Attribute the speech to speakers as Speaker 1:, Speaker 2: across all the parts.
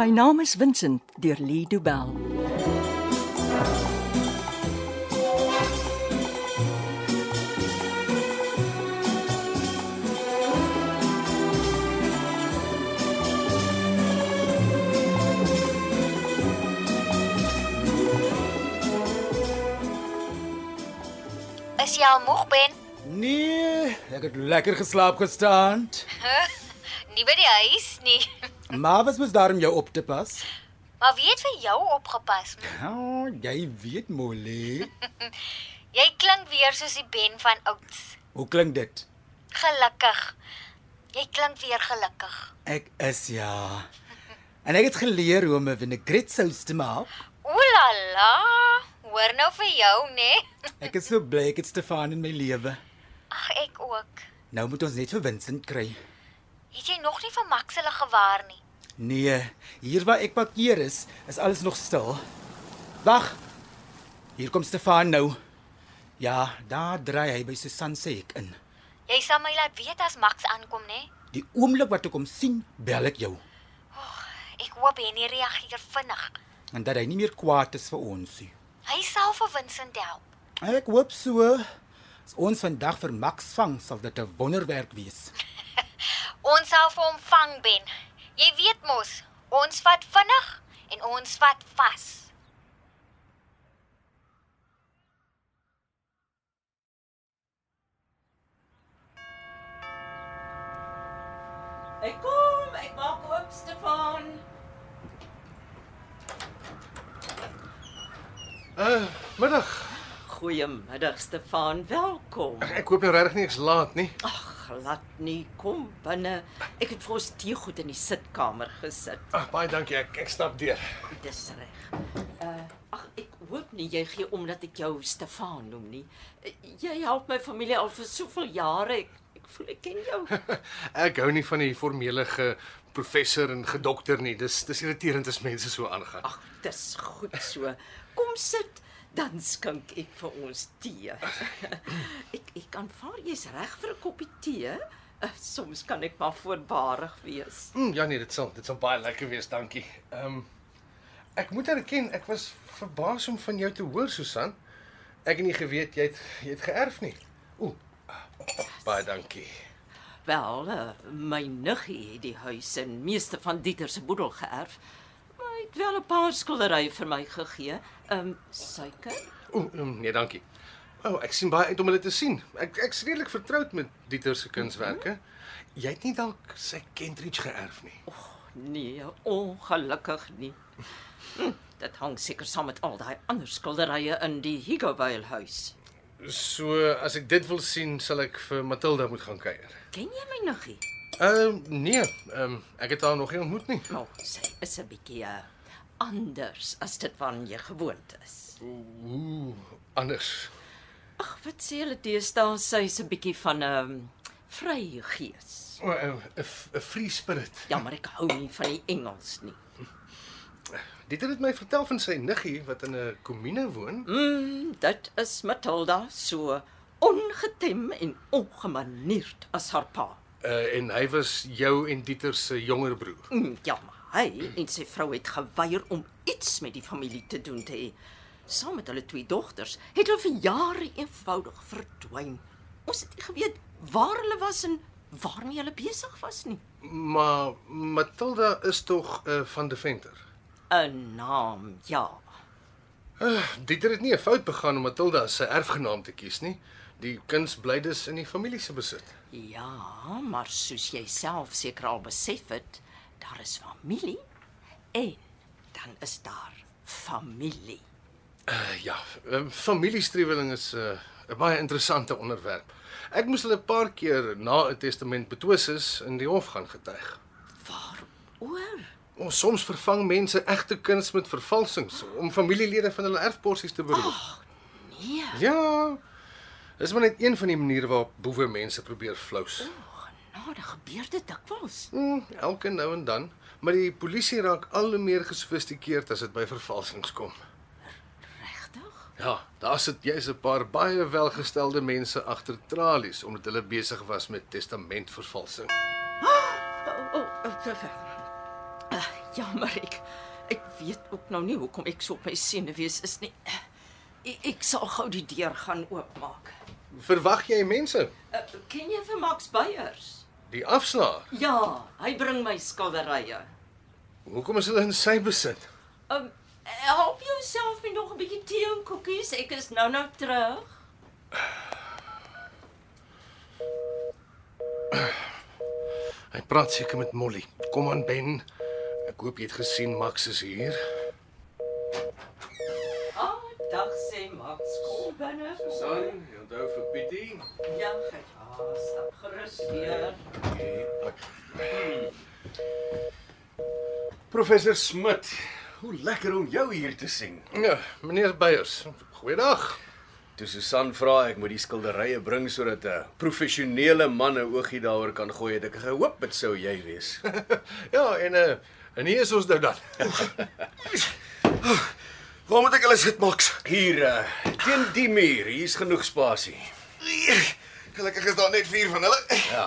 Speaker 1: My naam is Vincent deur Lee Du Bell.
Speaker 2: Is jy al moeg, Ben?
Speaker 3: Nee, ek het lekker geslaap gisterand.
Speaker 2: Nie by die huis nie.
Speaker 3: Maar was mos daarom jou op te pas?
Speaker 2: Maar wie het vir jou opgepas?
Speaker 3: Oh, jy weet Molly.
Speaker 2: Jy klink weer soos die Ben van ouds.
Speaker 3: Hoe klink dit?
Speaker 2: Gelukkig. Jy klink weer gelukkig.
Speaker 3: Ek is ja. En ek het geleer hoe om 'n vinaigrette sous te maak.
Speaker 2: O la la. Hoor nou vir jou, né?
Speaker 3: Ek is so bly ek het Stefan in my lewe.
Speaker 2: Ag, ek ook.
Speaker 3: Nou moet ons net vir Vincent kry.
Speaker 2: Het jy nog nie van Max hulle gewaar nie?
Speaker 3: Nee, hier waar ek parkeer is, is alles nog stil. Wag. Hier kom Stefan nou. Ja, daar draai hy by Susan se hek in.
Speaker 2: Jy sal my laat weet as Max aankom, né?
Speaker 3: Die oomblik wat ek hom sien, bel ek jou.
Speaker 2: Ek hoop Henny reageer vinnig.
Speaker 3: en dat hy nie meer kwaad is vir ons nie.
Speaker 2: Hy sal vir Vincent help.
Speaker 3: Ek hoop so. As ons vandag vir Max vang, sal dit 'n wonderwerk wees.
Speaker 2: Ons sal vir hom vang, Ben. Jy weet mos, ons vat vinnig en ons vat vas.
Speaker 4: Ek kom, ek maak oop Stefan.
Speaker 5: Uh, middag.
Speaker 4: Goeiemiddag Stefan, welkom.
Speaker 5: Ek hoop jy regtig nie ek's laat nie.
Speaker 4: Ag, glad nie, kom binne. Ek het vir ons teegoed in die sitkamer gesit.
Speaker 5: Ag, Ah, baie dankie. Ek ek stap deur.
Speaker 4: Dis reg. Uh, ag, ek hoop nie jy gee om dat ek jou Stefan noem nie. Eh, Jy help my familie al vir soveel jare. Ek, ek voel ek ken jou.
Speaker 5: Ek hou nie van die formele ge professor en gedokter nie. Dis dis irriterend as mense so aangaan.
Speaker 4: Ag, dis goed so. Kom sit, dan skink ek vir ons tee. ek ek aanvaar jy's reg vir 'n koppie tee. Eh, Soms kan ek maar voorbarig wees.
Speaker 5: Mm, ja nee, dit sal dit sal baie lekker wees, dankie. Ehm um, ek moet erken, ek was verbaas om van jou te hoor, Susan. Ek het nie geweet jy het jy het geerf nie. Ooh. Baie dankie.
Speaker 4: Wel, eh, my niggie het die huis en meeste van Dieter se boedel geërf. Maar hy het wel 'n paar skilderye vir my gegee. Ehm um, suiker?
Speaker 5: Ooh, mm, nee, dankie. O, oh, ek sien baie uit om hulle te sien. Ek ek's redelik vertroud met Dieter se kunswerke. Jy het nie dalk sy Kentridge geërf nie.
Speaker 4: Nee, ongelukkig nie. Hm, dit hang seker saam met al daai ander skilderye in die Higgovale huis.
Speaker 5: So, as ek dit wil sien, sal ek vir Matilda moet gaan kuier.
Speaker 4: Ken jy my niggie?
Speaker 5: Ehm uh, nee, ehm um, ek het haar nog nie ontmoet nie.
Speaker 4: Nou, sy is 'n bietjie uh, anders as dit van jy gewoond is.
Speaker 5: Ooh, anders.
Speaker 4: Ag, wat sê hulle teestaan sy's 'n bietjie van 'n um, vrye gees.
Speaker 5: O, eh, 'n f- 'n free spirit.
Speaker 4: Jammer ek hou nie van die Engels nie.
Speaker 5: Dieter het my vertel van sy niggie wat in 'n komine woon.
Speaker 4: Mm, dit is Matilda so ongetem en ongemanierd as haar pa.
Speaker 5: Uh, en hy was jou en Dieter se jonger broer.
Speaker 4: Mm, jammer. Hy en sy vrou het geweier om iets met die familie te doen te hê. Saam met hulle twee dogters het hulle vir jare eenvoudig verdwyn. Ons het nie geweet waar hulle was en waarmee hulle besig was nie.
Speaker 5: Maar Matilda is tog uh, van Deventer.
Speaker 4: 'n Naam, ja.
Speaker 5: Dieter het nie 'n fout begaan om Matilda as sy erfgenaam te kies nie. Die kuns bly dus in die familie se besit.
Speaker 4: Ja, maar soos jy self seker al besef het, daar is familie en dan is daar familie.
Speaker 5: Uh, ja, ehm, familiestreweling is 'n uh, 'n baie interessante onderwerp. Ek moes hulle 'n paar keer na 'n testament betwis is in die hof gaan getuig.
Speaker 4: Waaroor?
Speaker 5: Ons soms vervang mense egte kuns met vervalsings om familielede van hulle erfporsies te beroof.
Speaker 4: Nee,
Speaker 5: Ja. Dis maar net een van die maniere waarop boewe mense probeer flous.
Speaker 4: genade, gebeur dit dikwels.
Speaker 5: Mm, elke nou en dan, maar die polisie raak al hoe meer gesofistikeerd as dit by vervalsings kom.
Speaker 4: Regtig?
Speaker 5: Ja, daar sit jy's 'n paar baie welgestelde mense agter tralies omdat hulle besig
Speaker 4: Oh,
Speaker 5: was met testamentvervalsing.
Speaker 4: O, o, o, o, o. Ah, Jammer ek. Ek weet ook nou nie hoekom ek so op my senuwees is nie. Ek, ek sal gou die deur gaan oopmaak.
Speaker 6: Verwag jy mense?
Speaker 4: Uh, ken jy vir Max Beyers?
Speaker 6: Die afslaer.
Speaker 4: Ja, hy bring my skilderye.
Speaker 6: Hoekom is hulle in sy besit?
Speaker 4: Um help jouself met nog 'n bietjie tee en koekies. Ek is nou-nou terug.
Speaker 6: Hy praat seker met Molly. Kom aan Ben. Ek hoop jy het gesien Max is hier.
Speaker 4: Ah, dag sê Max. Kom binne.
Speaker 6: jy onthou vir Pietie?
Speaker 4: Ja, ja, stap gerus weer.
Speaker 5: Professor Smit, hoe lekker om jou hier te sien.
Speaker 6: Ja, meneer Beyers. Goeiedag.
Speaker 5: Toe Susan vra ek moet die skilderye bring sodat 'n professionele man 'n oogie daaroor kan gooi, het ek gehoop dit sou jy wees.
Speaker 6: Ja, en eh uh, en hier is ons nou dan.
Speaker 5: Waar moet ek hulle sit, Max? Hier, uh, teen die muur, hier's genoeg spasie.
Speaker 7: Gelukkig is daar net 4 van hulle.
Speaker 5: Ja.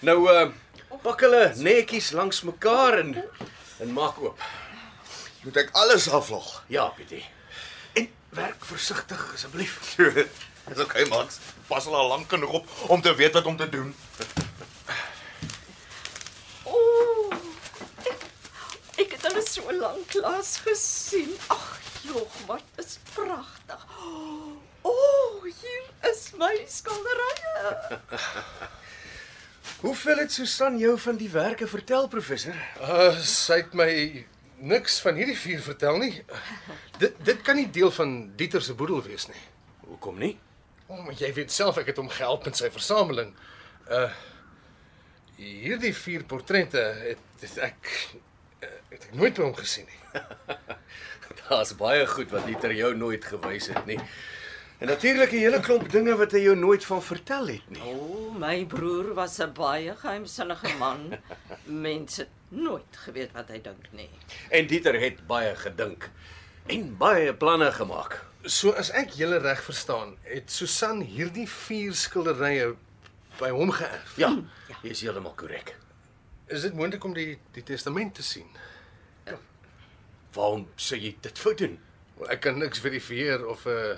Speaker 5: Nou uh, pak hulle netjies langs mekaar en en maak oop.
Speaker 7: Moet ek alles aflaag?
Speaker 5: Ja, Pietie. En werk versigtig asseblief.
Speaker 7: Dis okay, Max. Pas hulle al lank genoeg op om te weet wat om te doen.
Speaker 4: Ooh. Ek, ek het hulle so lank lank gesien. Ag, jog, wat is pragtig. Ooh, hier is my skilderye.
Speaker 5: Hoeveel het Susan jou van die werke vertel, professor?
Speaker 6: Uh sy het my niks van hierdie vuur vertel nie. Dit dit kan nie deel van Dieter se boedel wees nie.
Speaker 5: Hoekom nie?
Speaker 6: Omdat jy weet self ek het hom gehelp met sy versameling. Uh hierdie vier portrette het, het ek eh, het ek nooit by hom gesien nie.
Speaker 5: Daar's baie goed wat Dieter jou nooit gewys het nie. En natuurlik 'n hele klomp dinge wat hy jou nooit van vertel het nie.
Speaker 4: O, my broer was 'n baie geheimsinnige man. Mense het nooit geweet wat hy dink nie.
Speaker 5: En Dieter het baie gedink en baie planne gemaak.
Speaker 6: So as ek julle reg verstaan, het Susan hierdie vier skilderye by hom geërf.
Speaker 5: Ja, jy is heeltemal korrek.
Speaker 6: Is dit moontlik om die die testament te sien?
Speaker 5: Waarom sê jy dit fout doen?
Speaker 6: Wel, Ek kan niks verifieer of 'n uh,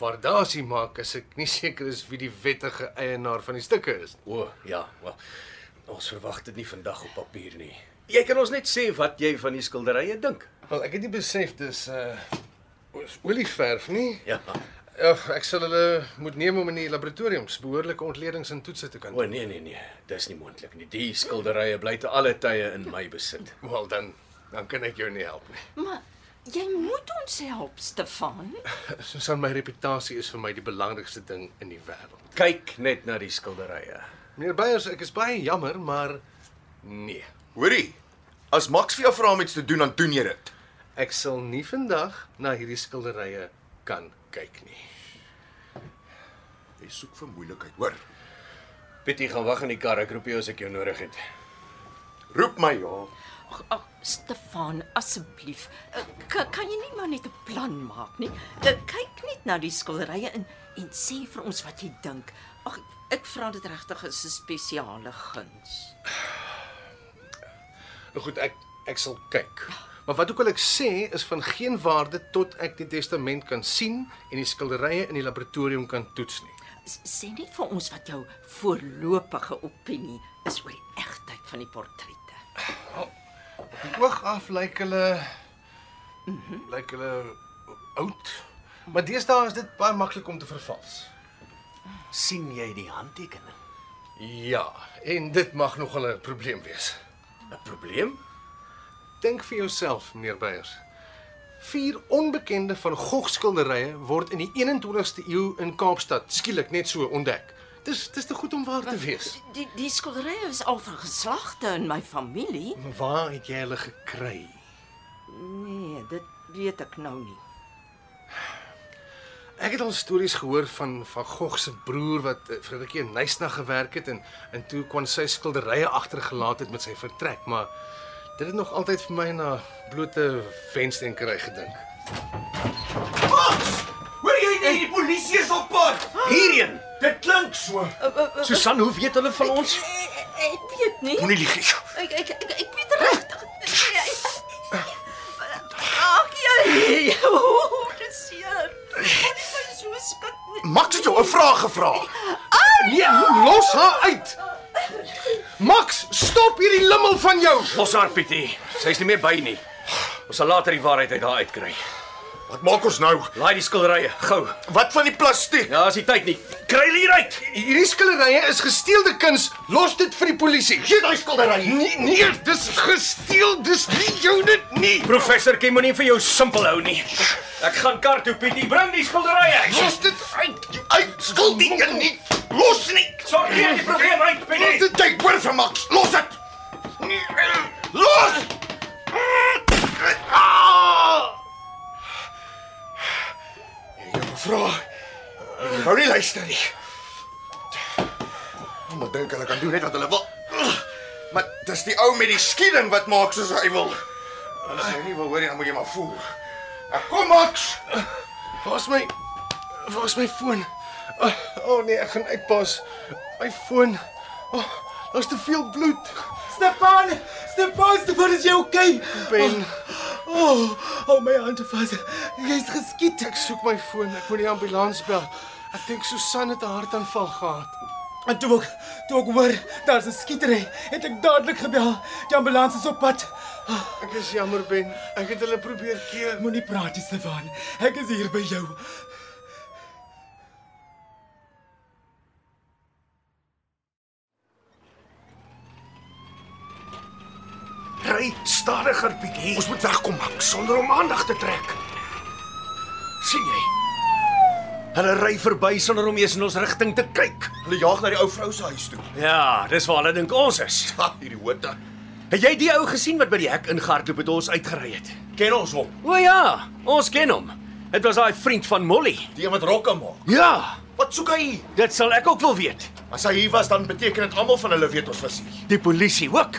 Speaker 6: waardasie maak as ek nie seker is wie die wettige eienaar van die stukke is.
Speaker 5: O, ja, wel. Ons verwag dit nie vandag op papier nie. Jy kan ons net sê wat jy van die skilderye dink.
Speaker 6: Wel, ek het nie besef dis 'n uh, is olieverf nie.
Speaker 5: Ja.
Speaker 6: Ag, ek sal hulle moet neem om in die laboratoriums behoorlike ontledings en toetse te kan
Speaker 5: O
Speaker 6: doen.
Speaker 5: nee nee nee, dis nie moontlik nie. Die skilderye bly te alle tye in my besit.
Speaker 6: Wel dan, dan kan ek jou nie help nie.
Speaker 4: Maar jy moet ons help, Stefan.
Speaker 6: Susan, my reputasie is vir my die belangrikste ding in die wêreld.
Speaker 5: Kyk net na die skilderye.
Speaker 6: Meneer Beyers, ek is baie jammer, maar nee.
Speaker 7: Hoorie, as Max vir jou vra om iets te doen, dan doen jy dit.
Speaker 6: Ek sal nie vandag na hierdie skilderye kan kyk nie.
Speaker 7: Jy soek vir moeilikheid, hoor.
Speaker 5: Pietie gaan wag in die kar. Ek roep jou as ek jou nodig het.
Speaker 7: Roep my ja.
Speaker 4: Ag, ag, Stefan, asseblief. Eh, Ka, kan jy nie maar net 'n plan maak nie? Eh, Kyk net na die skilderye en en sê vir ons wat jy dink. Ag, ek vra dit regtig is 'n spesiale guns.
Speaker 6: Nou goed, ek ek sal kyk. Maar wat ook al ek sê is van geen waarde tot ek die testament kan sien en die skilderye in die laboratorium kan toets nie.
Speaker 4: S- Sê net vir ons wat jou voorlopige opinie is oor die egtheid van die portrette.
Speaker 6: Die oog af lyk hulle lyk hulle oud. Maar deesdae is dit baie maklik om te vervals.
Speaker 5: sien jy die handtekening?
Speaker 6: Ja, en dit mag nogal 'n probleem wees.
Speaker 5: 'n Probleem?
Speaker 6: Dink vir jouself, meneer Beyers. Vier onbekende van Gogh skilderye word in die 21ste eeu in Kaapstad skielik net so ontdek. Dis dis te goed om waar te wees.
Speaker 4: Die die skilderye is al van geslagte in my familie.
Speaker 6: Maar waar het jy hulle gekry?
Speaker 4: Nee, dit weet ek nou nie.
Speaker 6: Ek het al stories gehoor van van Gogh se broer wat eh, vir 'n rukkie in Nysna gewerk het en en toe kon sy skilderye agtergelaat het met sy vertrek, maar dit het nog altyd vir my na blote vensterkery gedink.
Speaker 5: Hoor jy nie, die polisie is op pad. Hierheen. Dit klink so.
Speaker 4: Eh,
Speaker 5: Susan, hoe weet hulle van ons?
Speaker 4: Ek, ek eh, weet nie.
Speaker 5: Moenie lieg nie.
Speaker 4: Ek ek ek, ek weet regtig. Ai, o, dis seer. Dit is so skrik nie.
Speaker 7: Max het jou 'n vraag gevra.
Speaker 6: Nee, los haar uit. Max, stop hierdie limmel van jou.
Speaker 5: Los haar Pietie. Sy's nie meer by nie. Ons sal later die waarheid uit haar uitkry.
Speaker 7: Wat maak ons nou?
Speaker 5: Laai die skilderye gou.
Speaker 7: Wat van die plastiek?
Speaker 5: Ja, as jy tyd nie. Kry hulle hier uit.
Speaker 6: Hierdie skilderye is gesteelde kuns. Los dit vir die polisie.
Speaker 7: Gee daai skildery.
Speaker 6: Nee, nee, dis gesteel. Dis nie joune nie.
Speaker 5: Professor Kim moenie vir jou simpel hou nie. Ek gaan kar toe Pietie, bring die skilderye.
Speaker 6: Los dit uit.
Speaker 7: Uit skuld die een nie. Los nie.
Speaker 5: Sorteer die probleem uit
Speaker 7: Los
Speaker 5: Pietie.
Speaker 7: dit tyd hoor vir Max. Los dit. Los. Ah! Jy vra. Hou nie luister nie. Hulle dink hulle kan doen net wat hulle wil. Maar dis die ou met die skieding wat maak soos hy wil. As jy nie wil hoor nie, dan moet jy maar voel. Ek kom Max.
Speaker 6: Waar's my Waar's my foon? O oh, oh nee, ek gaan uitpas. My foon. Oh, daar's te veel bloed.
Speaker 8: Stefan, Stefan, Stefan is jy okay?
Speaker 6: Ben,
Speaker 8: Oh, hou my hand vas. Jy's geskiet.
Speaker 6: ek soek my foon. Ek moet die ambulans bel. Ek dink Susan het 'n hartaanval gehad.
Speaker 8: En toe ek toe ek hoor daar's 'n skietery, het ek dadelik gebel. Die ambulans is op pad. Ah.
Speaker 6: Ek is jammer Ben. Ek het hulle probeer keer.
Speaker 8: Moenie praat nie, Stefan. Ek is hier by jou.
Speaker 5: Ry stadiger Pietie.
Speaker 7: Ons moet wegkom Max sonder om aandag te trek.
Speaker 5: sien jy. Hulle ry verby sonder om eers in ons rigting te kyk.
Speaker 7: Hulle jaag na die ou vrou se huis toe.
Speaker 5: Ja, dis waar hulle dink ons is.
Speaker 7: Ha, hierdie hote.
Speaker 5: Het jy die ou gesien wat by die hek ingehardloop het en ons uitgery het?
Speaker 7: Ken ons hom?
Speaker 5: O ja, ons ken hom. Dit was daai vriend van Molly.
Speaker 7: Die een wat rokke maak.
Speaker 5: Ja,
Speaker 7: Wat soek hy hier?
Speaker 5: dit sal ek ook wil weet.
Speaker 7: As hy hier was, dan beteken dit almal van hulle weet ons was hier.
Speaker 5: Die polisie ook.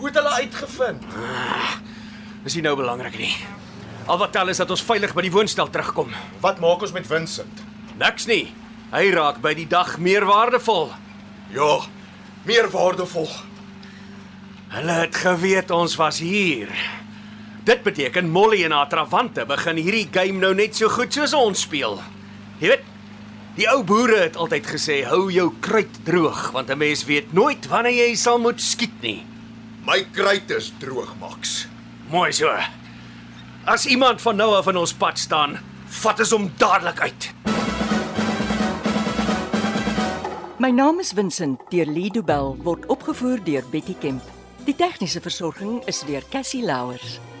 Speaker 7: Hoe het hulle uitgevind?
Speaker 5: Dis nie nou belangrik nie. Al wat tel is dat ons veilig by die woonstel terugkom.
Speaker 7: Wat maak ons met Vincent?
Speaker 5: Niks nie. Hy raak by die dag meer waardevol.
Speaker 7: Ja, meer waardevol.
Speaker 5: Hulle het geweet ons was hier. Dit beteken Molly en haar trawante begin hierdie game nou net so goed soos ons speel. Jy weet, die ou boere het altyd gesê hou jou kruit droog want 'n mens weet nooit wanneer jy sal moet skiet nie.
Speaker 7: My kruit is droog, Max.
Speaker 5: Mooi so. As iemand van nou af in ons pad staan, vat ons hom dadelik uit.
Speaker 1: My naam is Vincent deur Lido Bell word opgevoer deur Betty Kemp. Die tegniese versorging is deur Cassie Louers.